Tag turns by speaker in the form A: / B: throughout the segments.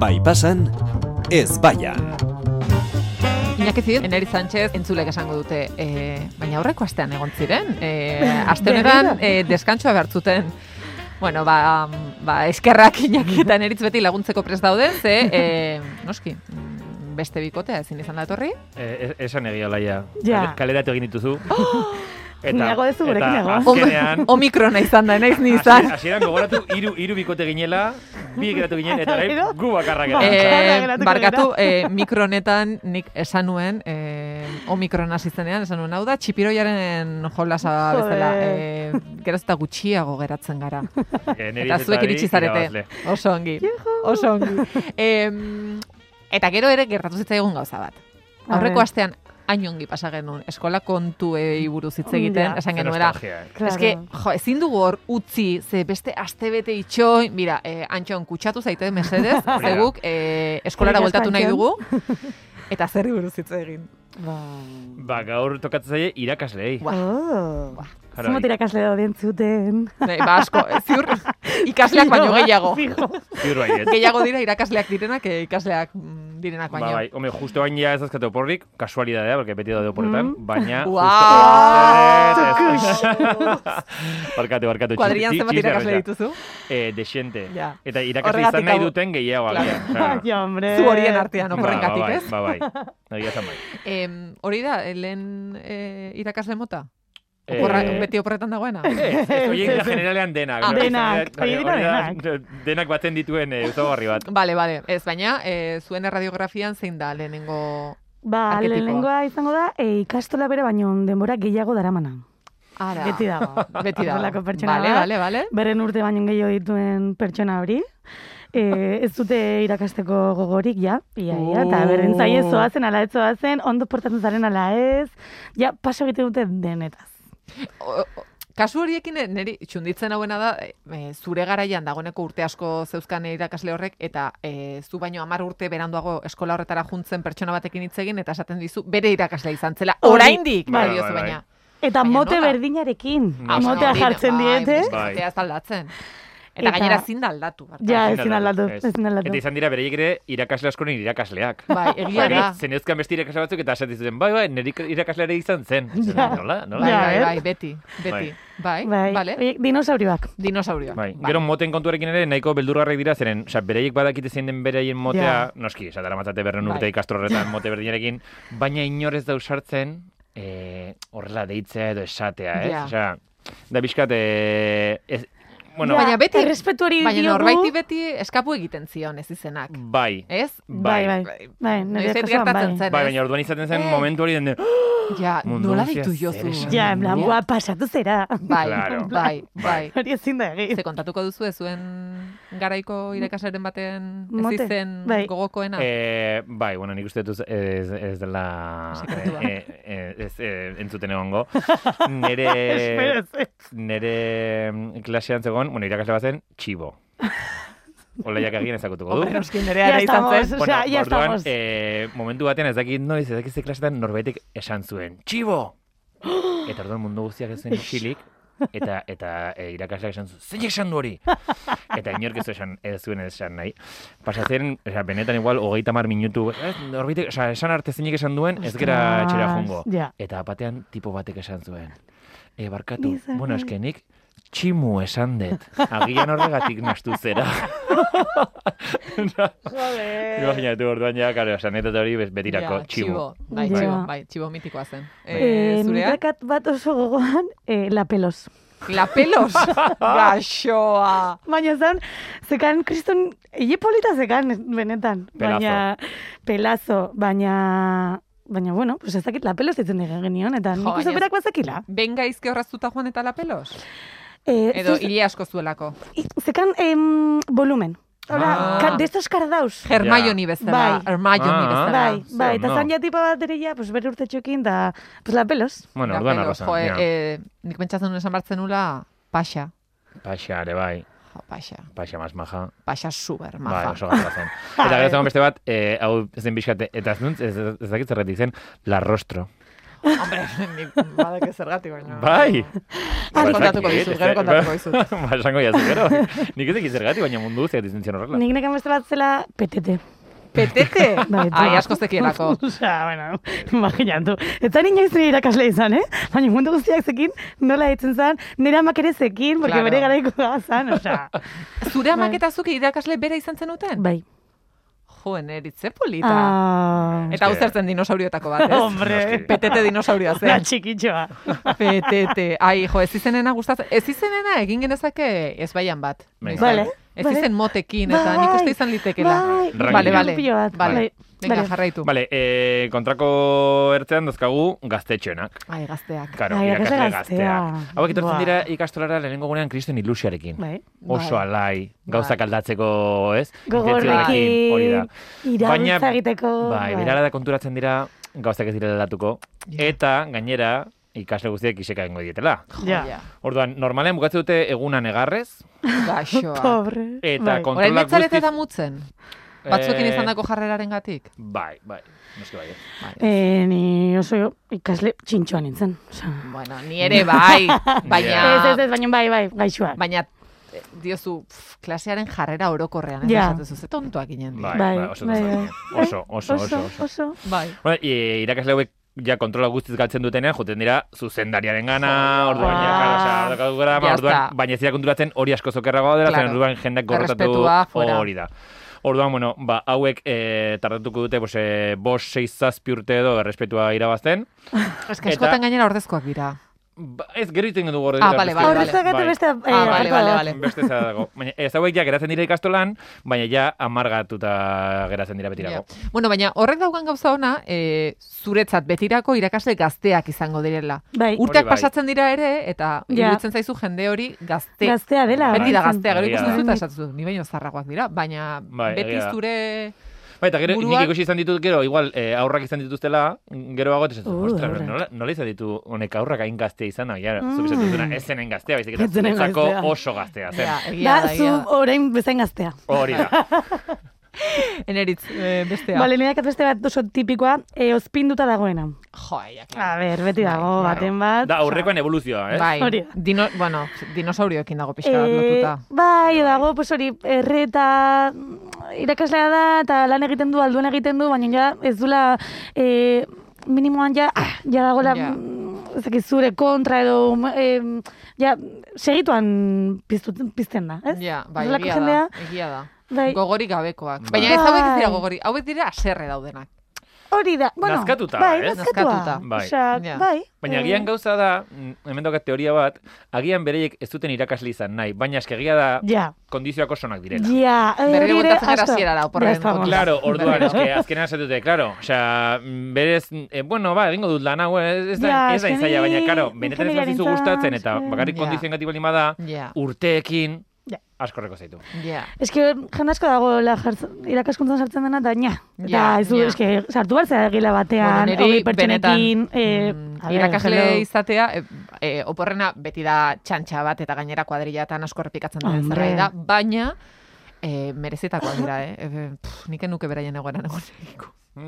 A: Bai pasan, ez baian.
B: Iñaki Zid, Eneri Sánchez entzulek esango dute, e, baina aurreko astean egon ziren, e, aste honetan e, deskantsoa behar zuten. Bueno, ba, ba eskerrak Iñaki eta Eneritz beti laguntzeko prest daude, ze, e, noski, mm, beste bikotea ezin izan da etorri.
C: Eh, e- esan egia laia.
D: Ja.
C: Kale- Kaleratu egin dituzu.
D: Nago duzu, gurekin
C: eta
D: nago.
C: azkenean,
B: Omikrona izan da, naiz ni
C: hasi-
B: izan.
C: hasieran gogoratu, hiru hiru bikote ginela, bi geratu ginen, eta
D: Gero?
C: orain gu bakarrak gara.
D: Bakarra
B: E,
D: geratuko
B: barkatu, e, mikronetan nik esan nuen, e, omikron aziztenean, esan nuen, hau da, txipiroiaren jolasa
D: Joder.
B: bezala, e, geraz eta gutxiago geratzen gara.
C: Eneritz
B: Eta zuek
C: Ari
B: iritsi zarete.
C: irabazle.
B: Oso ongi. Oso ongi. Em, eta gero ere gertatu zitzaigun gauza bat.
D: A
B: Aurreko
D: ber.
B: astean hain ongi pasa genuen eskola kontuei buruz hitz egiten,
D: Ja.
B: esan
C: Ze
B: genuela.
C: nostalgia, eh.
B: Ez que, jo, ezin dugu hor utzi, ze beste astebete itxoin, mira, eh, antxon, kutsatu zaite mesedez,
C: Hori
B: ze
C: da.
B: guk eh, eskolara
D: Eskerrik
B: bueltatu
D: asko,
B: nahi dugu,
D: Antxon.
B: eta zerri buruz hitz egin.
C: Ba, gaur tokatzen zaie irakasleei.
B: Ba.
D: Oh.
C: Jaro,
D: Zumot irakasle dauden zuten.
B: Nei, ba, asko, eh, ziur, ikasleak baino gehiago.
D: Fijo.
C: ziur baiet.
B: Gehiago dira irakasleak direnak, eh, ikasleak mm, direnak
C: Ba,
B: baino.
C: bai, hombre, justo bain ja ez azkate oporrik, kasualidadea, porque beti daude oporretan, baina...
B: Wow!
C: justo- Barkatu, barkatu.
B: Kuadrian zenbat irakasle dituzu?
C: Eh, dexente.
B: Ja.
C: Eta irakasle
B: Horregatik
C: izan nahi
B: hau-
C: duten gehiago.
B: Claro.
C: agian,
D: Ai,
C: claro.
D: hombre.
B: Zu horien artean, oporrengatik,
C: Ba,
B: ez?
C: Ba, Eh, bai, ba, bai. Egia esan bai.
B: Em, hori da, eh, lehen eh, irakasle mota?
C: Eh,
B: Oporra, beti oporretan dagoena?
C: Ez, ez, horiek dira generalean denak.
B: Ah,
C: Hori
D: denak,
C: da- hori
D: hori dira
C: da- Denak baten dituen eh, ezaugarri bat.
B: Bale, bale, ez, baina eh, zuen erradiografian zein da lehenengo
D: Ba,
B: Arketipoa.
D: lehenengoa izango da, e, ikastola bere baino denbora gehiago daramana.
B: Ara.
D: Beti dago.
B: Beti dago.
D: Horrelako pertsona
B: Bale,
D: bat.
B: bale, bale.
D: Berren urte baino gehiago dituen pertsona hori. E, ez dute irakasteko gogorik, ja, ia, ia, eta
B: Oh.
D: berren zaie zoazen, ala ez zoazen, ondo portatzen zaren, ala ez, ja, paso egiten dute denetaz.
B: O- o- Kasu horiekin eh, niri txunditzen hauena da, eh, eh, zure garaian dagoeneko urte asko zeuzkan irakasle horrek, eta eh, zu baino hamar urte beranduago eskola horretara juntzen pertsona batekin hitz egin, eta esaten dizu bere irakasle izan zela,
D: Hori.
B: oraindik,
C: Bai,
B: bai, diozu
C: bai, bai.
B: baina.
D: Eta
B: Baina
D: mote
B: nola?
D: berdinarekin,
C: Ah,
D: motea
C: hori da,
D: jartzen diete.
B: Bai,
C: Bai.
B: motea ez da aldatzen. Eta,
D: Eta-
B: gainera ezin da aldatu. barkatu.
D: Ja, ezin aldatu,
C: Ez.
D: ezin aldatu.
C: Eta izan dira bere ere irakasle askoren irakasleak.
B: Bai, egia da.
C: Zenezkan beste irakasle batzuk eta esatu zuten, bai, bai, nire irakasleare izan zen. Esan,
D: Ja.
C: Nola, nola?
B: Bai,
D: Ja,
B: bai,
D: eh?
B: bai, beti, beti. Bai,
D: Bai,
B: bale.
D: horiek dinosaurioak.
B: Dinosaurioa.
C: Bai, gero moten kontuarekin ere nahiko beldurgarrek dira, zeren, oza, bereiek badakite zein den bereien motea, noski, oza, dara matzate berren urte
B: Bai.
C: ikastorretan mote berdinarekin, baina inorez da usartzen, eh, horrela deitzea edo esatea, ez?
B: Ja.
C: Oza, da bizkat, eh, ez, bueno,
D: Ja,
B: Baina beti-
D: errespetu hori
B: Baina
D: Ba, diogu.
B: norbaiti beti eskapu egiten zion ez izenak.
C: bai,
B: Ez?
D: Bai, bai,
B: Bai,
D: bai, nire
B: Noizet
D: kasuan,
B: gertatzen
D: bai.
B: zen,
C: Bai,
B: ez?
C: baina orduan izaten zen
B: Eh.
C: momentu hori den,
B: Ja,
C: Mundu
B: nola
C: guztia
B: ditu
C: zer
B: jozu?
C: esan
D: Ja, en plan,
C: Ja.
D: bua, pasatu zera.
B: Bai,
C: Claro.
B: bai, bai.
D: Hori ezin da egin.
B: Ze kontatuko duzu ez zuen garaiko irakasaren baten ez
D: Mote,
B: izen
D: bai.
B: gogokoena?
C: Eh, bai, bueno, nik uste dut ez, ez dela
B: Sekretua.
C: eh, eh, ez, eh, entzuten egongo. Nere,
D: Espero, ez.
C: nere mm, klasean zegoen, bueno, irakasle bazen, txibo. Oleiak agian ezagutuko
B: Hombre,
C: du.
B: noski nerea
D: Ya
B: ere izan
D: estamos,
B: zen.
D: o sea, ya
C: ba, orduan,
D: estamos.
C: eh, momentu batean ez dakit noiz, ez dakit ze klasetan norbaitek esan zuen, txibo! Eta orduan mundu guztiak ez zen isilik, eta, eta eh, irakasleak esan zuen, zein esan du hori? Eta inork ez, esan, ez zuen esan nahi. Pasatzen, oza, benetan igual, hogeita mar minutu, eh, norbaitek, oza, esan arte zeinek esan duen, ez gera
D: Ostras,
C: etxera jungo.
D: ja.
C: Eta batean, tipo batek esan zuen. E, barkatu,
D: Nizar.
C: bueno, eskenik, tximu esan dut. Agian horregatik nastu zera. Imaginatu orduan ja, karo, esan hori bez- betirako
B: Ja,
C: tximu.
B: Bai,
D: Ja.
B: txibo, bai, txibo mitikoa zen. Eh,
D: Eh,
B: zurea?
D: nire bat oso gogoan, eh, la pelos.
B: La pelos! Gaxoa!
D: Baina zan, zekan kriston, hile polita zekan, benetan.
C: Pelazo.
D: Baina, pelazo, baina... Baina, bueno, pues ez dakit la pelos ditzen dira genion, eta
B: Jo,
D: nik uste
B: baina-
D: berak bazakila.
B: Ben gaizke horraztuta joan eta la pelos?
D: Eh,
B: Edo
D: zuz-
B: hile asko zuelako.
D: i- zekan em, volumen. Hora,
B: Ah.
D: ka, de estos cardaus.
B: Hermione bezala,
D: Bai.
B: Hermione
C: Ah,
B: bezala.
D: Bai, bai, eta
C: no.
D: zan ja tipa bat ere ja, pues bere urte txokin, da, pues la pelos.
C: Bueno,
B: La
C: orduan
B: pelos,
C: arrazan.
B: jo, eh,
C: ja.
B: eh, nik pentsatzen nuen esan bartzen nula, paxa.
C: Paxa, ere bai,
B: Jo, paxa.
C: paxa mas maja.
B: Paxa super,
C: Bai,
B: maja.
C: oso gara zen. Eta gero zegoen beste bat, eh, hau zen bizkate, eta ez nuntz, ez, ez dakit zerretik zen, la rostro.
B: Hombre, nik badak zergatik baina.
C: Bai.
B: Gero Ah. kontatuko dizut, gero kontatuko dizut.
C: Ba, esango jazu, gero. Nik ez dakit zergatik, baina mundu guztiak dizen zion horrela.
D: Nik nekan beste bat zela petete.
B: Petete!
D: Bai,
B: Ah, Ai, asko zekielako.
D: Osea, bueno, imaginatu. Ez zan inoiz nire irakasle izan, eh? Baina mundu guztiak zekin, nola ditzen zan, nire amak ere zekin, porque
B: Claro.
D: bere garaiko da zan, osea.
B: Zure amaketazuk irakasle bera izan zenuten?
D: Bai.
B: Jo, eneritze polita.
D: Ah, Oh,
B: Eta hau zertzen dinosaurioetako bat, ez?
D: hombre.
B: Petete dinosaurioa
D: Da
B: zen.
D: txikitxoa.
B: Petete. Ai, jo, ez izenena gustatzen. Ez izenena egin genezake ez baian bat.
C: Venga.
B: Noizbait.
D: Vale,
B: Ez
D: vale.
B: izen motekin, eta nik uste izan litekela.
D: Bai,
C: Ranking.
B: Bale, bale.
D: Pilo bat,
B: Bale.
D: bai.
B: Venga,
D: Bale.
B: jarraitu.
C: Bale, eh, kontrako ertzean dazkagu gaztetxoenak.
B: Ai, gazteak.
C: Karo,
D: Ai, irakasle
C: irakasle
D: gaztea.
C: gazteak. Hauek etortzen
D: Buah.
C: dira ikastolara lehenengo gunean kristen ilusiarekin.
D: Bai.
C: Oso
B: Bai.
C: alai, gauzak
B: Bai.
C: aldatzeko, ez? Intentzioarekin, hori da.
D: Gogorrekin, irabiltza egiteko.
C: bai, berara da konturatzen dira gauzak ez direla aldatuko. Eta, gainera, ikasle guztiak iseka egingo dietela.
D: Ja.
B: Ja.
C: Orduan, normalean bukatzen dute eguna negarrez,
B: Gaxoa.
D: Pobre. Bai.
C: Eta kon-
B: Horain
C: Kontrolak
B: betzalete
C: guztiz-
B: da mutzen. Batzuekin
C: Eh,
B: izandako jarreraren gatik.
C: Bai, bai, noski bai. eh.
D: Eh, ni oso ikasle txintxoan nintzen. osea.
B: Bueno, ni ere bai,
D: Ez, ez,
B: baina...
D: ez, baina bai, bai, gaixoa.
B: baina eh, diozu pf, klasearen jarrera orokorrean, ez
D: Ja.
B: esatezu, ze tontoak ginen.
C: Bai,
D: Bai,
C: bai, oso,
D: bai,
C: bai,
D: bai.
C: oso, oso, oso, oso.
D: oso.
B: Bai.
C: Bueno, e, irakasle hauek ja kontrola guztiz galtzen dutenean, joten dira zuzendariaren gana, orduan,
D: Wow.
C: ja, claro, osea, daukatu grama,
B: Ah. Ya
C: ba, orduan,
B: está.
C: baina ez dira konturatzen hori asko zokerragoa dela,
B: Claro.
C: zen orduan jendak gorrotatu
B: Errespetua, fuera.
C: hori da. Orduan, bueno, ba, hauek e, tardatuko dute, bose, bos, seiz, zazpi urte edo errespetua irabazten.
B: Ez que
C: Eta-
B: askotan gainera ordezkoak dira.
C: Ba, ez, gero iten dugu hori.
B: Ah, bale, bale, bale.
D: Horrezak eta beste... eh,
B: Ah, bale,
D: hartu
B: bale,
D: da.
B: bale.
C: Beste zera dago. Baina, ez hauek ja geratzen dira ikastolan, baina ja amargatuta geratzen dira betirako.
B: Ja. Bueno, baina horrek daukan gauza ona, e, zuretzat betirako irakasle gazteak izango direla.
D: Bai.
B: Urteak
C: Hori bai.
B: pasatzen dira ere, eta
D: Ja.
B: iruditzen zaizu jende hori gazte.
D: Gaztea dela.
B: Beti da
D: bai.
B: gaztea, gero
C: Egia da.
B: ikusten zuta esatzu, ni baino zarragoak dira, baina
C: Bai,
B: beti
C: egia da.
B: zure...
C: Bai, eta gero,
B: Buruak-
C: nik ikusi izan ditut, gero, igual, eh, aurrak izan dituztela, gero bago, eta esatzen,
D: Uh,
C: "Ostras,
D: aurrak."
C: nola, nola izan ditu honek aurrak hain gaztea izan, hau, ja,
D: Mm.
C: mm. zubizatzen duna, ez zenen gaztea, baizik
D: Ez
C: eta
D: zenen
C: zuretzako
D: gaztea.
C: oso gaztea, zen.
B: Ja,
D: Da,
B: egia da,
D: zu
B: egia da.
D: orain bezain gaztea.
C: Hori da.
B: Eneritz, eh, bestea.
D: Bale, nirekat beste bat oso tipikoa, eh, ozpinduta dagoena.
B: Jo, aia,
D: A
B: claro.
D: ber, beti dago,
B: Bai,
D: baten bat.
C: Da, aurrekoen evoluzioa, eh?
D: Hori
B: Bai,
D: da.
B: dino, bueno, dinosaurioekin dago pixka bat
D: Eh,
B: lotuta.
D: bai, dago, pues hori, erreta mm, irakaslea da, eta lan egiten du, alduen egiten du, baina ja, ez dula, eh, minimoan ja, ah, ja dagoela,
B: Ja.
D: mm, ez dakit, zure kontra edo, mm, eh, ja, segituan piztu, pizten da, Eh, ez?
B: Ja, bai,
D: Horrelako
B: egia da,
D: jendea,
B: egia da.
D: Bai.
B: Gogorik gabekoak.
C: Bai.
B: Baina ez hauek ez dira
D: Bai.
B: gogorik, hauek dira aserre daudenak.
D: Hori da, bueno,
C: Nazkatuta,
D: bai,
C: ez?
D: nazkatua.
B: Nazkatuta.
C: Bai.
D: Osea,
B: Ja.
D: bai.
C: Baina
D: eh,
C: agian gauza da, mm, hemen daukat teoria bat, agian bereiek ez duten irakasle izan nahi, baina eskegia da
D: Ja,
C: kondizioak oso onak direla.
D: ja, eh,
B: Berriro
D: hori ere
B: bueltatzen gara
D: asko.
B: hasierara, oporren
D: Ya estamos.
B: kontura.
C: Claro, orduan, eske, azkenean esaten dute, claro, osea, mm, berez, eh, bueno, ba, egingo dut lan hau, ez, ez da,
D: Ja,
C: ez da
D: eske
C: inzaia,
D: ni
C: baina, claro, benetan ez bazizu
D: ingeniarentzat,
C: gustatzen, eta
D: eske.
C: bakarrik
B: Ja.
C: kondizioen gatik bali bada,
B: Ja,
C: urteekin
D: Ja.
C: askorreko zaitu.
B: ja.
D: Eske jende asko dago la irakaskuntzan sartzen dena da nia. Eta
B: Ja,
D: ez du
B: ja.
D: eske sartu behar zara gila batean,
B: Bueno, niri
D: hogei pertsonekin, eh,
B: mm,
D: a ber,
B: irakasle
D: hello.
B: izatea, e, e, oporrena beti da txantxa bat eta gainera kuadrilatan asko errepikatzen den
D: Hombre.
B: zerbait da, baina e, merezitakoa dira, eh? E, e, pff, nik enuke beraien egoeran egon.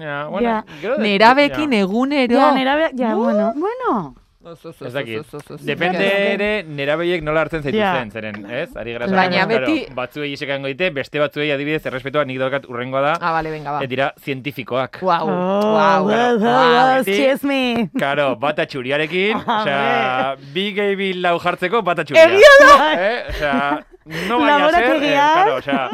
C: Ja,
D: Ja.
C: gero de-
B: Nerabekin
C: ja.
B: egunero.
D: Ja, nera, be-
B: Uh.
D: ja, bueno, bueno.
B: Oso, oso,
C: Ez
B: oso,
C: dakit.
B: oso, oso, oso.
C: Depende ere nerabeiek nola hartzen zaituzten,
D: Ja.
C: zeren, ez? Ari gara
B: Baina
C: esaten, claro,
B: beti-
C: batzuei isekango dite, beste batzuei adibidez errespetua nik daukat urrengoa da,
B: Ah, bale, venga, ba.
C: ez dira zientifikoak.
B: Wow,
D: Oh, wow, wow, excuse me.
C: Karo, bata txuriarekin,
D: Hombre.
C: osea, bi gehi bi lau jartzeko bata txuria.
D: Egia
C: da! Eh? Osea, no baina zer, eh,
D: Laborategian.
C: karo, osea,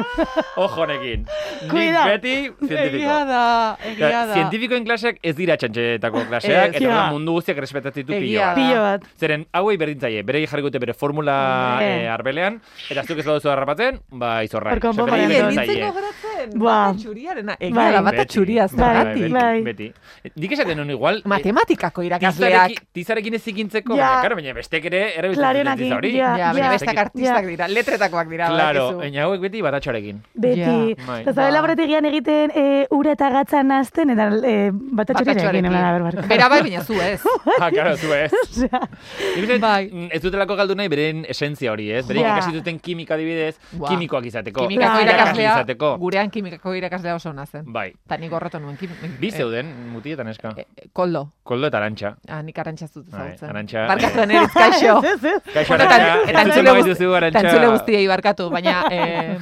C: ojonekin. Nik
D: Cuidado.
C: beti zientifiko.
B: Egia da, egia da.
C: Zientifikoen klaseak ez dira txantxeetako klaseak,
B: Ez,
C: eta
D: ja.
C: orduan mundu guztiak respetatzen ditu pilo
B: Egia
C: bat.
B: da.
D: Pilo bat.
C: Zeren, hauei berdintzaie, bere jarri dute bere formula
B: Bai.
D: Hombre.
C: eh, arbelean, eta zuk ez baduzu harrapatzen, ba, izorra.
D: Hor kanpo
B: Bai,
D: Bai,
B: nintzen gogoratzen,
D: Ba.
B: bata txuriarena. Egia
D: Bai.
B: da, bata txuria ez da.
D: Bai.
B: beti.
D: bai.
C: beti, beti. Nik esaten nuen igual, eh,
B: Matematikako
C: tizarekin,
B: irakasleak.
C: tizarekin ez ikintzeko,
D: Ja.
C: baina, karo, baina bestek ere erabiltzen duten
D: Klarenakin,
C: tiza hori.
D: ja.
B: Ja, baina
D: Ja.
B: bestak artistak dira, letretakoak dira.
C: Claro,
B: badakizu.
C: baina hauek beti batatxoarekin.
D: Beti.
C: Ja, bai.
D: Eta zabe
B: Ba.
D: laborategian egiten eh, ura eta gatza nazten, eta eh, batatxorekin,
B: Batatxoarekin.
D: emela, berbarka.
B: Bera bai, baina zu ez.
C: Ah, karo, zu ez. Nik uste dut,
B: Bai.
C: mm, Ez dutelako galdu nahi beren esentzia hori, ez? Beren
D: Ja.
C: ikasi duten kimika adibidez,
B: Buah.
C: kimikoak izateko.
B: Kimikako
D: Claro. bai,
C: irakasle
B: irakaslea
C: izateko.
B: gurean kimikako irakaslea oso ona zen.
C: Bai.
B: Eta nik horretu nuen kimik.
C: Bi zeuden, muti eta neska.
B: Eh, eh, koldo.
C: Koldo eta arantxa.
B: Ah, nik arantxa zut
C: Bai,
B: ezagutzen.
C: Arantxa,
B: Barkatu eneritz, kaixo.
D: Ez, ez.
C: Kaixo
B: Bueno,
C: arantxa,
B: eta- eta
C: entzuten
B: entzule guzti-
C: baituzu
B: Eta
C: arantxa.
B: entzule guztiei barkatu, baina eh,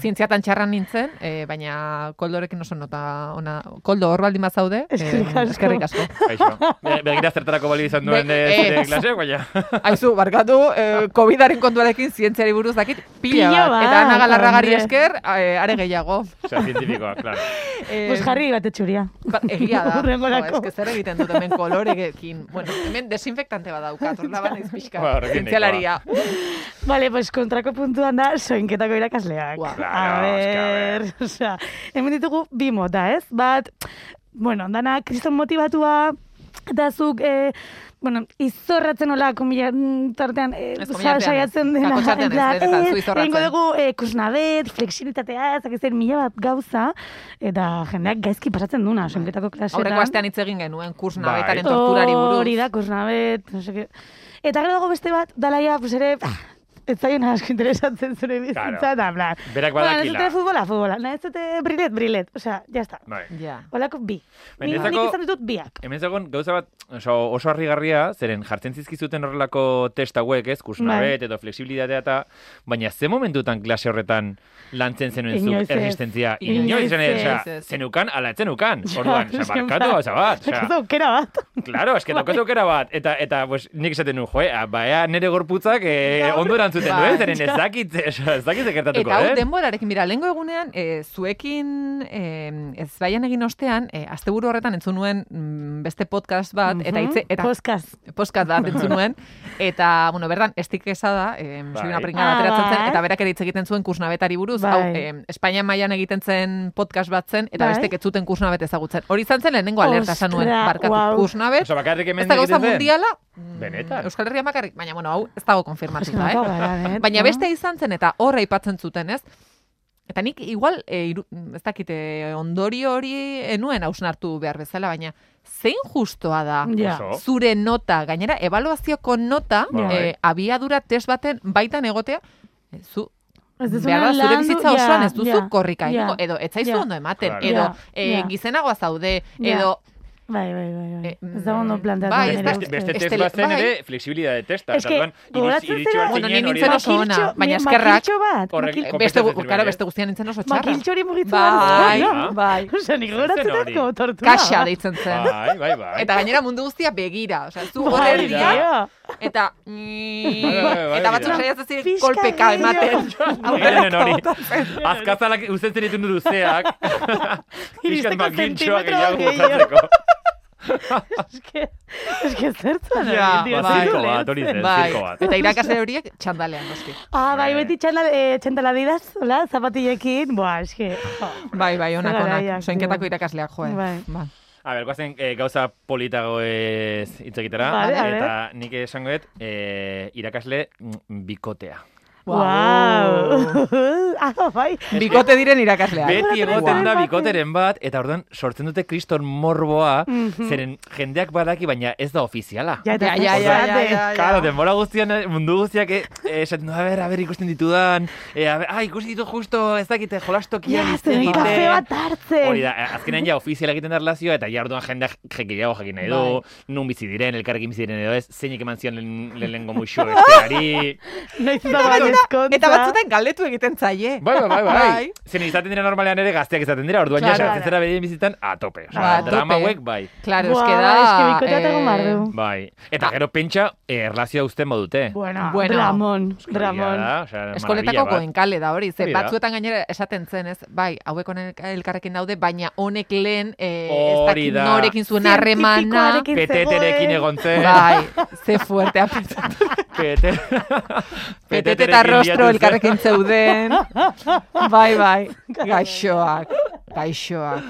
B: zientziatan txarra nintzen, eh, baina koldorekin oso nota ona. Koldo hor baldin bazaude, eh,
D: Eskerrik asko.
B: eskerrik asko.
C: Kaixo. Be- Begira zertarako balio izan duen
B: Be-
C: de,
B: eh.
C: zure klase, baina.
B: Aizu, barkatu, eh, COVIDaren kontuarekin zientziari buruz dakit pila,
D: Pila bat,
B: Eta Ana Galarragari
D: hombre.
B: esker, eh, are gehiago.
C: Osea, zientifikoa, klaro.
B: Eh,
D: Pues jarri bate txuria.
B: Ba, egia da.
D: Hurrengorako.
B: Jo, eske zer egiten dut hemen koloregekin. Bueno, hemen desinfektante bat daukat, horla bat naiz pixka.
C: Ba, horrekin
B: Zientzialaria.
D: Vale, pues kontrako puntuan da soinketako irakasleak.
B: Ua.
D: A
C: Claro, es que a
D: ber,
C: ver.
D: osea, hemen ditugu bi mota, ez? Bat, bueno, dana kriston motibatua, eta zuk, eh, bueno, izorratzen nola, komila, mm, tartean, eh,
B: Ez,
D: sa-
B: komilartean ez.
D: saiatzen dela.
B: Kakotxartean ez,
D: en plan,
B: benetan, zu
D: eh,
B: izorratzen.
D: egingo dugu eh, kusnabet, flexibilitatea, ez dakit zer, mila bat gauza, eta jendeak gaizki pasatzen duna, soinketako
B: Bai.
D: klasetan.
B: Aurreko astean hitz egin genuen kurs
C: Bai.
B: nabetaren torturari buruz.
D: Ba, Hori da, kusnabet, no seke. Eta gero dago beste bat, dalaia, pues ere, ah, ez zaion asko interesatzen zure bizitza,
C: Claro.
D: eta bla.
C: Berak
D: Bueno, ez
C: badakila.
D: dute futbola, futbola, nahi ez dute brilet, brilet, osea, jazta.
C: Bai.
B: Ja.
D: Olako bi. Nik,
C: Benetako-
D: nik izan ditut biak.
C: Hemen zegoen gauza bat oso, oso harrigarria, zeren jartzen zizkizuten horrelako test hauek, ez,
B: Bai.
C: kusnabet edo flexibilitatea eta, baina ze momentutan klase horretan lantzen zenuen
D: Inoiz ez.
C: zuk erresistentzia?
B: Inoiz
C: Inoiz, zen,
B: ez.
C: osea, zenukan, ala etzenukan, Eh, orduan,
D: Ja,
C: oza,
D: osea,
C: barkatu gauza bat,
D: Ez
C: oza,
D: aukera bat.
C: klaro, eske daukaz aukera bat, eta, eta, pues, nik esaten nu, joe, ah, baina nire gorputzak eh, ondo erantzuten du,
B: Bai.
C: eh, zeren ez dakit, oza, ez dakit zekertatuko,
B: Eta hau
C: eh?
B: denborarekin, mira, lehengo egunean, e, zuekin e, ez baian egin ostean, e, asteburu horretan entzun nuen mm, beste podcast bat, eta hitze, eta Bai.
D: Poskaz.
B: podcast bat entzun nuen, eta, bueno, berdan, estik esada, eh,
C: Bai.
B: soy una pringada
D: Ah,
B: ateratzen zen,
D: bai.
B: eta berak ere hitz egiten zuen kursnabetari buruz,
D: Bai.
B: hau, eh, Espainia mailan egiten zen podcast bat zen, eta
D: Bai.
B: bestek ez zuten kursnabet ezagutzen. Hori izan zen lehenengo alerta esan nuen,
D: Ostra,
B: barkatu,
D: guau.
B: kursnabet,
C: Oza, bakarrik
B: ez
C: hemen
B: da gauza
C: egiten den.
B: mundiala, mm,
C: Benetan.
B: Euskal Herria makarrik, baina, bueno, hau, ez dago konfirmatuta, eh?
D: gara,
B: Baina beste izan zen eta hor aipatzen zuten, ez? Eta nik igual, e, iru, ez dakite, ondorio hori enuen hausnartu behar bezala, baina zein justoa da
D: Ja.
C: Oso.
B: zure nota, gainera, ebaluazioko nota,
C: Bai.
B: eh, abiadura test baten baitan egotea, eh, zu,
D: Ez duzuna
B: behar da, zure
D: landu,
B: bizitza
D: ja,
B: osoan ez duzu
D: ja,
B: korrika eh,
D: ja.
B: egingo, edo etzaizu
D: Ja.
B: ondo ematen,
C: Claro.
B: edo
D: Ja,
B: eh,
D: ja.
B: gizenagoa zaude,
D: Ja.
B: edo
D: Bai, bai, bai, bai.
B: Eh, mm,
D: Ez da ondo planteatu.
B: bai,
D: nire
B: ez da-
C: Beste,
D: ustez.
C: beste test
B: Estele-
C: bat zen
B: bai.
C: ere, flexibilitate testa.
D: Ez
C: eta
D: que,
C: orduan, iritsi-
D: gogoratzen
C: iritsi
D: zera-
C: behar
B: Bueno, ni
C: zinen hori
B: nintzen
C: da.
B: oso ona,
D: Makiltxo-
B: baina
D: mi-
B: eskerrak.
D: Makiltxo bat.
C: Horrek-
D: makil-
C: Konpentsatu
B: beste, gu-
C: zerbait,
B: claro,
C: eh?
B: beste guztian nintzen
D: Ba,
B: oso txarra.
D: Makiltxo hori mugitu
B: Bai,
D: behar da.
B: bai.
D: Osa, nik
C: Zer zen
D: goratzen
C: hori?
D: dut como tortura.
B: Kaxa deitzen zen.
C: Bai, bai, bai.
B: Eta gainera mundu guztia begira, osea, zu hor
D: Bai,
B: erdia,
D: tio.
B: eta mm,
C: Bai, bai, bai,
B: eta batzuk
C: bai.
B: saiatzen ziren
D: Pixka
B: kolpeka ematen.
D: gehiago.
C: Egiten hori.
B: Aurrera
C: Azkazalak uzten zen ditu luzeak. Piskat
D: Iristeko
C: makintxoa
D: zentimetro
C: gehiago
D: gehiago.
C: bukatzeko.
D: Eske, eske zertzen
B: Ja,
D: ari, tio,
B: bai.
D: zer
C: Zirko
D: ulertzen.
C: bat, hori zen,
B: Bai,
C: zirko bat.
B: eta irakasle horiek txandalean noski.
D: Ah, bai,
C: Bai.
D: beti txandal, eh, txandala didaz, hola, zapatilekin, boa, eske. jo.
B: Bai, bai, onak,
D: Zer
B: onak.
D: garaiak,
B: Soinketako
D: tio.
B: irakasleak, joe.
D: Bai.
B: Ba.
C: A ber, guazen eh, gauza politago ez hitz egitera.
D: Vale, a
C: Eta nik esangoet eh, irakasle mm, bikotea.
D: Wow. ah, bai.
B: Bikote diren irakasleak.
C: Beti egoten
B: Guau.
C: da
D: baten.
C: bikoteren bat, eta orduan sortzen dute kriston morboa, zeren jendeak badaki, baina ez da ofiziala.
D: Ja, eta
B: Ja, ja, ja, ja,
D: zate.
B: ja,
C: Eh, Claro,
B: ja.
C: denbora guztian, eh, mundu guztiak, eh, esaten du, a ber, a ber, ikusten ditudan, eh, a ber, ah, ikusi ditut justo, ez dakite, jolastokian,
D: Ja,
C: hitz
D: zen
C: egiten.
D: kafe bat hartzen.
C: Hori este da, eh, azkenean ja ofiziala egiten da erlazioa, eta ja orduan jendeak jekileago jakin nahi du, nun bizi diren, elkarrekin bizi diren edo ez, zeinek eman zion lehen- lehenengo muxo besteari.
D: Noiz
B: Eta
D: da bai
B: batzutan-
D: eskontza.
B: Eta batzutan galdetu egiten zaie.
C: Bai, bai, bai, bai.
B: Bai.
C: Zen izaten dira normalean ere gazteak izaten dira, orduan ja
B: Claro.
C: sartzen zera beren bizitan a tope. Osea,
B: Ba, a
C: drama
B: tope.
C: hauek, bai.
B: Claro,
D: Buah,
B: eske da... eh,
D: eske bikotea eta egon behar du.
C: Bai. Eta gero pentsa, eh, erlazioa uzten badute.
D: Bueno,
B: Bueno.
D: Ramon,
C: Egia
D: Ramon.
C: da, osea, maravilla
B: Eskoletako
C: bat.
B: goenkale da hori, ze
C: Hori da.
B: batzuetan gainera esaten zen, ez? Bai, hauek honek elkarrekin daude, baina honek lehen eh, ez
C: Hori
B: dakit
C: da.
B: norekin zuen harremana.
D: Zientifikoarekin zegoen.
C: Peteterekin egon zen.
B: Bai, ze fuerte apetatu.
C: Pete...
B: Petete eta rostro
C: bilatu zen.
B: elkarrekin zeuden. Bai, bai, gaixoak, gaixoak.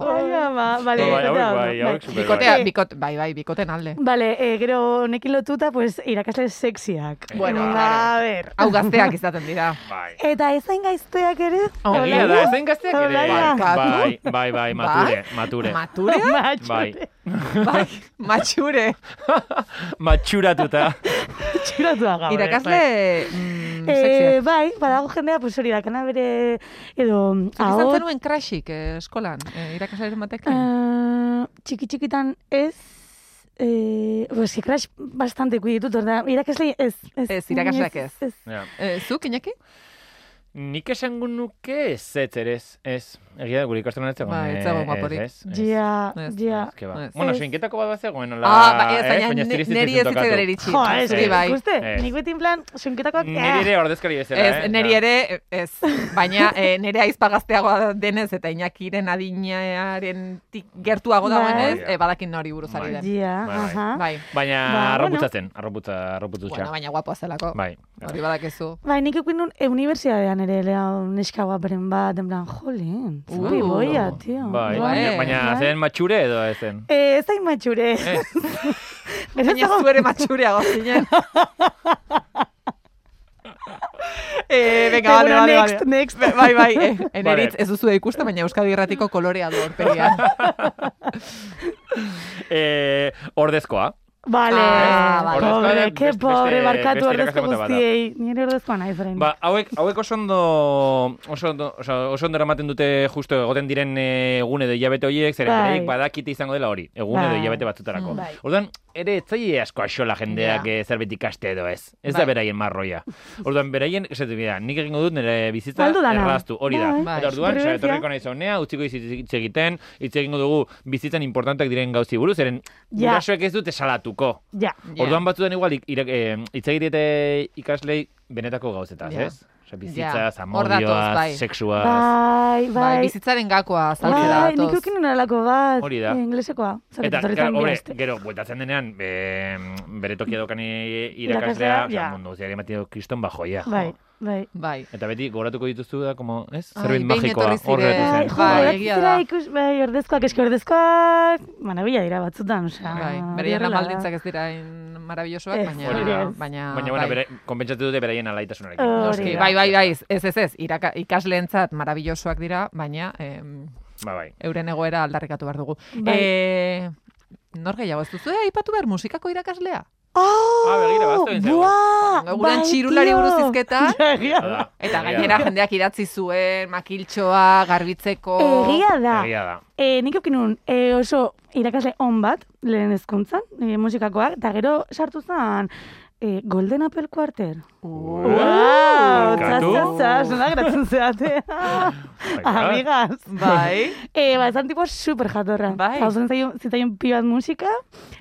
D: Ai, ba, ama, bale,
C: Bai,
D: bikotea
C: hauek
D: ondo,
C: bai, hauek super
B: Bikotea,
D: Eh,
B: bikot, bai, bai, bikoten alde.
D: Bale, eh, gero honekin lotuta, pues, irakasle sexiak.
B: Bueno,
D: ba, a ber.
B: Hau gazteak izaten dira.
C: Bai.
D: Eta ezain gaizteak ere.
B: Oh,
D: Hola,
C: Egia da, ezen gazteak ere.
D: Olaia.
C: Bai, bai, bai, mature, mature.
B: Mature?
D: Matxo.
C: Bai,
B: Bai, matxure.
C: matxuratuta.
D: Txuratuago.
C: Bai.
B: Irakasle mm,
D: bai. Eh, bai, badago jendea, pues hori dakana bere, edo,
B: Izan
D: ahots-
B: zenuen krasik eh, eskolan, eh, irakaslaren batekin.
D: Eh, txiki txikitan ez, eh, pues, que crash bastante kuiditut, orda, irakasle ez.
B: Ez, irakasleak ez.
D: ez.
C: Ja.
B: Eh, zuk, Iñaki?
C: Nik esango nuke ez, ez, ere ez, ez. Egia da, gure ikastolan ez zegoen.
B: Ba, ez dago guaporik.
C: Ez, ez, ez.
D: Ja,
B: Ez,
D: ja.
C: Ez, que ba.
B: Ez.
C: Bueno,
D: Ez.
C: suinketako bat bat zegoen, hola,
B: Ah, ba, ez,
C: eh,
B: baina
C: stiliz
B: ne- neri ez
C: zitzaion
B: zitzaidan
C: tokatu.
B: iritsi.
D: Jo, ez,
C: Ez,
D: ez,
B: bai.
D: ikuste,
C: Ez.
D: nik beti plan, sunketakoak,
C: Niri ere ordezkari bezala,
B: Ez,
C: eh?
B: neri
C: Ja.
B: ere, ez. Baina eh, nire aizpa gazteagoa denez eta Inakiren adinaren gertuago dagoenez,
C: Bai.
B: eh, badakin nori buruz ari
C: Bai.
B: den.
D: Ja,
C: Bai, bai.
D: aha.
B: Bai,
C: Baina
D: Ba, bueno.
C: arroputzatzen, arroputza, arroputzutxa.
B: bueno, baina guapoa zelako.
C: Bai.
B: Hori badakizu.
D: Bai, nik ikuin nun, e, unibertsitatean ere, lea, neska guaperen bat, en plan, jolin,
B: Uh.
D: zuri boia, tio.
B: Bai.
C: Bai, baina, baina
D: Bai.
C: zen matxure edo ez zen.
D: Eh, ez da matxure.
C: Ez.
B: Baina
D: Geroztago-
B: zu ere matxureago zinen. Eh, venga,
D: Bueno,
B: vale, vale,
D: next,
B: vale.
D: next.
B: Be- Bai, bai, eh, eneritz
C: Vale.
B: ez duzu ikusten, baina Euskadi Irratiko kolorea du aurpegian.
D: Bai.
C: Eh, ordezkoa.
D: Vale,
B: Ah, vale.
D: pobre,
C: Ordezkoa,
D: que
C: beste-
D: pobre,
C: beste-
D: barkatu
C: beste
D: ordezko
C: irakasle mota bat da.
D: guztiei. Nire ordezkoa naiz, orain.
C: Ba, hauek, hauek oso ondo, oso ondo, oso, oso ondo eramaten dute justo egoten diren eh, egun edo hilabete horiek, zeren
D: Bai.
C: beraiek badakite izango dela hori, egun edo
D: Bai.
C: hilabete batzutarako.
B: Mm.
D: Bai.
C: Orduan, ere etzaile asko axola jendeak
B: Ja.
C: yeah. zerbait ikaste edo ez. Ez
B: Bai.
C: da beraien marroia. Orduan, beraien, esatu bera, nik egingo dut nire bizitza
D: Galdu dana.
C: erraztu, hori da.
B: Bai.
C: Eta orduan,
D: Supervivencia.
C: sa, etorriko naiz honea, utziko hitz- hitz egiten, hitz egingo dugu bizitzan importanteak diren gauzi buruz, zeren
D: Ja.
C: gurasoek ez dute salatuko.
D: Ja.
B: Ja.
C: Orduan batzutan igual ik- irak- eh, hitz egitete ikaslei benetako gauzetaz,
B: Ja.
C: ez? Osea, bizitzaz,
B: Ja. Hor datoz,
C: amodioaz,
B: bai.
C: sexuaz.
D: Bai,
B: Bai,
D: bai.
B: bizitzaren gakoa
D: Bai,
B: zaltzera
D: nik
B: datoz.
D: eukin nuen alako bat.
C: Hori da.
D: eh, Inglesekoa. Zerbait
C: Eta,
D: etorri
C: claro,
D: zan
C: hombre,
D: bihazte.
C: gero, bueltatzen denean, eh, bere tokia dokani irakaslea,
D: Irakaslea,
C: osea,
D: ja.
C: mundu guztiak ematen dio kriston bajoia.
D: Bai, bai.
B: Bai.
C: Eta beti goratuko dituzu da, como, ez?
B: Ai, behin
C: Zerbait magikoa,
B: etorri
C: hor geratu
B: ziren.
D: Bai,
C: zen.
D: jo,
B: Bai,
D: bai,
B: egia
D: zera
B: da.
D: ikus, bai, ordezkoak, eski ordezkoak, manabila dira batzutan, osea.
B: Bai, beraien amaldintzak ez dira hain marabillosoak,
D: Ah, Ez,
C: hori
B: baina,
C: da.
B: baina,
C: Baina, bueno,
B: bai.
C: bere, konpentsatu dute beraien alaitasunarekin.
D: Hori
B: Noski,
D: da.
B: bai, bai, bai, ez ez ez, iraka, ikasleentzat marabillosoak dira, baina em,
C: Ba, bai.
B: euren egoera aldarrikatu behar dugu.
D: Bai.
B: Eh, nor gehiago, ez duzu eh, aipatu behar musikako irakaslea?
D: Oh,
C: Ah, begira, baztu egin zaigu.
D: buah,
B: Guran
D: bai,
B: txirulari
D: tio.
B: buruz izketa,
D: Ja, egia da.
C: Hala.
B: eta
C: Egia
B: gainera
C: da.
B: jendeak idatzi zuen, makiltxoa, garbitzeko...
D: Egia da.
C: Egia da.
D: E, nik eukin nun, e, oso irakasle on bat, lehen hezkuntzan, e, musikakoak, eta gero sartu zen e, Golden Apple Quarter.
B: Ua.
D: Wow, zaz,
C: barkatu.
D: zaz, zaz, nola geratzen zeate.
B: Oh
D: Amigas.
B: Bai,
D: E, ba, ezan tipo super jatorra.
B: Bai.
D: Zauzen zaion, zitaion pi bat musika,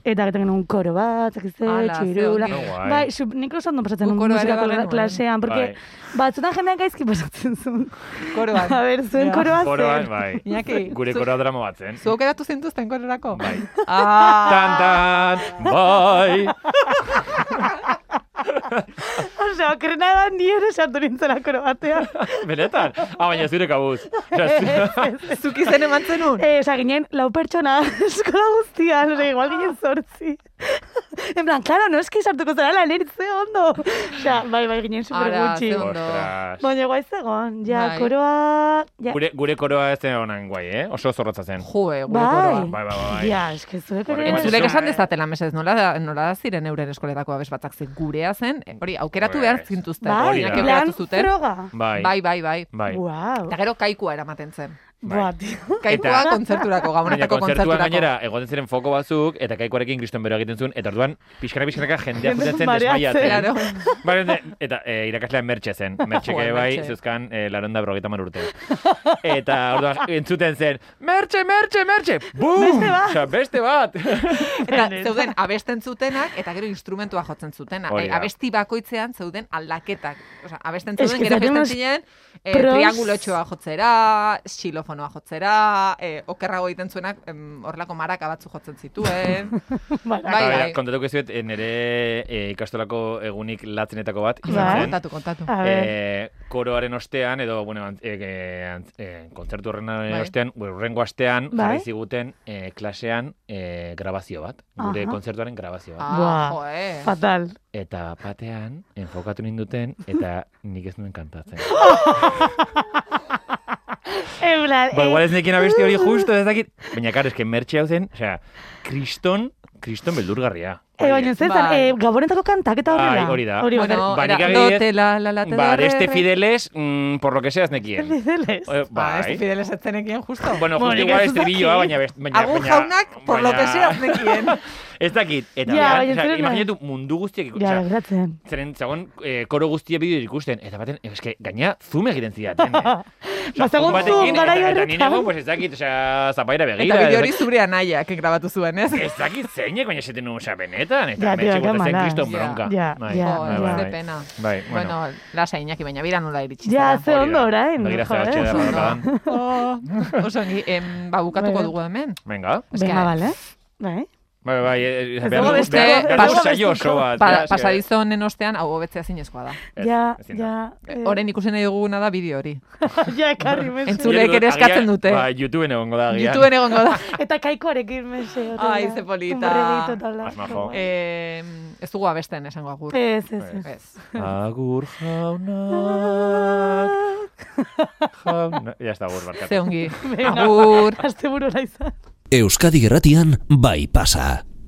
D: eta gero genuen koro bat, zakizte,
B: Ala, ze
D: txirula.
B: ongi.
C: Oh, guai.
D: Bai, sub, nik oso ondo pasatzen
B: Guk
D: nun
B: koroa ere
D: musika
B: bagenuen.
D: klasean, porque
C: Bai.
D: batzutan jendeak gaizki pasatzen zuen.
B: koroan.
D: A ber, zuen
B: Ja.
D: koroa
C: Koroan,
D: zer.
C: bai.
B: Iñaki,
C: Gure
B: zu-
C: koroa drama bat zen.
B: Zuok edatu zintuzten kororako?
C: Bai. Tan,
B: Ah,
C: tan, bai.
D: Osea, okerrena da ni ere sartu nintzela koro batean.
C: Benetan? Ah, baina zure kabuz. Osea, zu-
B: zuk izen eman zenun?
D: Eh, Osa, ginen lau pertsona eskola guztian, ose, igual ginen sortzi. en plan, claro, no eski sartuko zara la leritze ondo. Osea, bai, bai, ginen super
B: Ara,
D: gutxi.
B: ze ondo.
C: Ostras.
D: Baina guai zegoen, ja,
B: Bai.
D: koroa... Bai, Ja,
C: Gure, gure koroa ez zen honan guai, eh? Oso zorrotza zen.
B: Joe, gure
D: bai.
B: koroa.
C: Bai, bai, bai, bai.
D: Ja, eske zuek
C: Hori,
D: ere...
C: bai,
B: Entzulek
C: Zure-
B: esan dezatela mesez, nola da, nola da ziren euren eskoletako abes batzak zen gurea zen, eh, hori aukeratu behar
C: Pues,
B: zintuzten,
D: Bai,
C: Hori
B: Iñaki
C: da.
D: plan
B: aukeratu zuten.
D: froga.
C: Bai,
B: Bai, bai, bai.
C: bai.
D: Wow.
B: Eta gero kaikua eramaten zen.
D: Buah, tio.
B: Kaikua
C: Eta-
B: kontzerturako,
C: Baina
B: gabonetako
C: kontzertuan
B: kontzerturako.
C: gainera, egoten ziren foko batzuk, eta kaikoarekin kriston bero egiten zuen, eta orduan, pixkana pixkanaka jendea
D: Jende
C: juten zen
D: mareatzen.
C: desmaiatzen.
B: Claro.
C: Bai, jende- eta e, irakaslean mertxe zen. Mertxeke
B: Joder,
C: bai,
B: mertxe.
C: zeuzkan e, laron da brogeta urte. Eta orduan, entzuten zen, mertxe, mertxe, mertxe, bum! Beste bat! beste bat!
B: Eta zeuden abesten zutenak, eta gero instrumentua jotzen zutena.
C: Hori
B: Eh,
C: da.
B: abesti bakoitzean zeuden aldaketak. Osa, abesten
D: Es
B: zeuden,
D: que
B: gero
D: zaten
B: jaisten
D: unos
B: ziren, eh,
D: pros-
B: triangulotxoa jotzera, xilofonoa jotzera, eh, okerrago egiten zuenak em, horlako maraka batzu jotzen zituen.
D: Bai,
B: Bai,
C: Bai,
B: bai.
C: Kontatuko izuet, eh, nere eh, ikastolako egunik latzenetako bat,
D: Bai.
C: izan zen.
B: Kontatu, kontatu.
D: A ver,
C: E, koroaren ostean, edo, bueno, ant, e, e, ant, e, kontzertu horren
B: Bai.
C: ostean, gure urrengo astean,
D: Bai.
C: jarri ziguten e, klasean e, grabazio bat, gure
D: Aha.
C: kontzertuaren grabazio bat.
B: Ah,
D: Buah.
B: jo, eh.
D: fatal.
C: Eta batean, enfokatu ninduten, eta nik ez nuen kantatzen.
D: En plan,
C: ba,
D: eh,
C: igual ez nekien abesti hori justo, ez dakit. Baina, kar, eske mertxe hau zen, osea, kriston kriston beldurgarria.
D: E, baina zer zen,
B: Bai.
D: e, gabonetako kantak eta horrela.
C: Bai, hori da.
D: Hori
B: Bueno,
C: Ba,
B: era,
C: nik adibidez-
B: dote, la, la, la, te
C: Ba,
B: dorre,
C: este
B: re.
C: fideles, mm, por lo que sea, ez nekien.
D: Fideles.
C: Eh,
D: Ah,
B: Ba, este
C: Bai.
B: fideles etzenekien, justo.
C: Bueno, justo
D: Bueno,
C: igual
D: ez
C: estribilloa,
D: dakit.
C: baina... best- baina-
B: Agun
C: baina-
B: jaunak, por lo que
C: baina-
B: sea, nekien.
C: Ez dakit. Eta,
D: Ja,
C: ja,
D: baina
C: ja,
D: zer da?
C: imaginatu mundu guztiak
D: Ja,
C: ikusten.
D: gertatzen.
C: Zeren, zagon, eh, koro guztia bideo ikusten. Eta baten, eh, eske, gaina, zume egiten zidaten. eh. Osea,
D: Bazegon
C: batekin,
D: Ba, zoom garai
C: eta- Eta
D: horretan.
C: nire egon, pues ez dakit, osea, zapaira begira.
B: Eta
C: ez
B: bideo hori
C: dakit-
B: zure anaiak grabatu zuen, ez?
C: Ez dakit zeinek, baina esaten nuen, osea, benetan. Eta
D: Ja,
C: hemen
D: tio,
C: txiko, eta zen
D: kamala.
C: kriston
B: Ja,
C: bronka.
D: ja,
C: Bai,
D: ja,
B: Jo,
C: bai,
B: ez
C: bai,
B: de
C: bai.
B: pena.
C: Bai, bueno.
B: Bueno, lasa Iñaki, baina bira nola iritsi
D: Ja,
B: zara.
D: ze
C: Hori da.
D: ondo orain.
C: Begira, ze
D: jo,
C: hortxe
D: eh.
C: da.
B: Oso ondo.
C: Arrakadan.
B: Oh, Oso ongi, em, ba, bukatuko
D: Bueno.
B: dugu hemen.
C: Venga.
B: Eske,
D: Venga, bale. Bai.
C: Bai, bai, eh,
D: Ez
C: behar
D: dago
C: dugu-
D: beste-
C: behar- behar dugu
B: pas-
C: saio oso bat, ja,
B: Pa,
C: eske-
B: Ba, pasadizo honen ostean, hau hobetzea zinezkoa da.
C: Ez,
D: Ja,
C: ezin da.
D: ja. eh,
B: Oren ikusen nahi duguna da bideo hori.
D: Ja, ekarri, mese.
B: Entzule. Zureek ere
C: Agian-
B: eskatzen dute.
C: Ba, YouTubeen egongo da, agian.
B: YouTubeen egongo da.
D: Eta kaikoarekin, mese. horrela.
B: Ai, ze polita.
D: Un borreguito eta hola.
C: Mas majo.
B: Eh, ez dugu abesten esango agur.
D: Ez, ez, ez.
C: Eh.
B: Ez.
C: Agur jaunak, jauna... Ya está, agur, barkatu.
B: Ze ongi. Agur.
D: Aste buru izan.
A: Euskadi Gerratian bai pasa.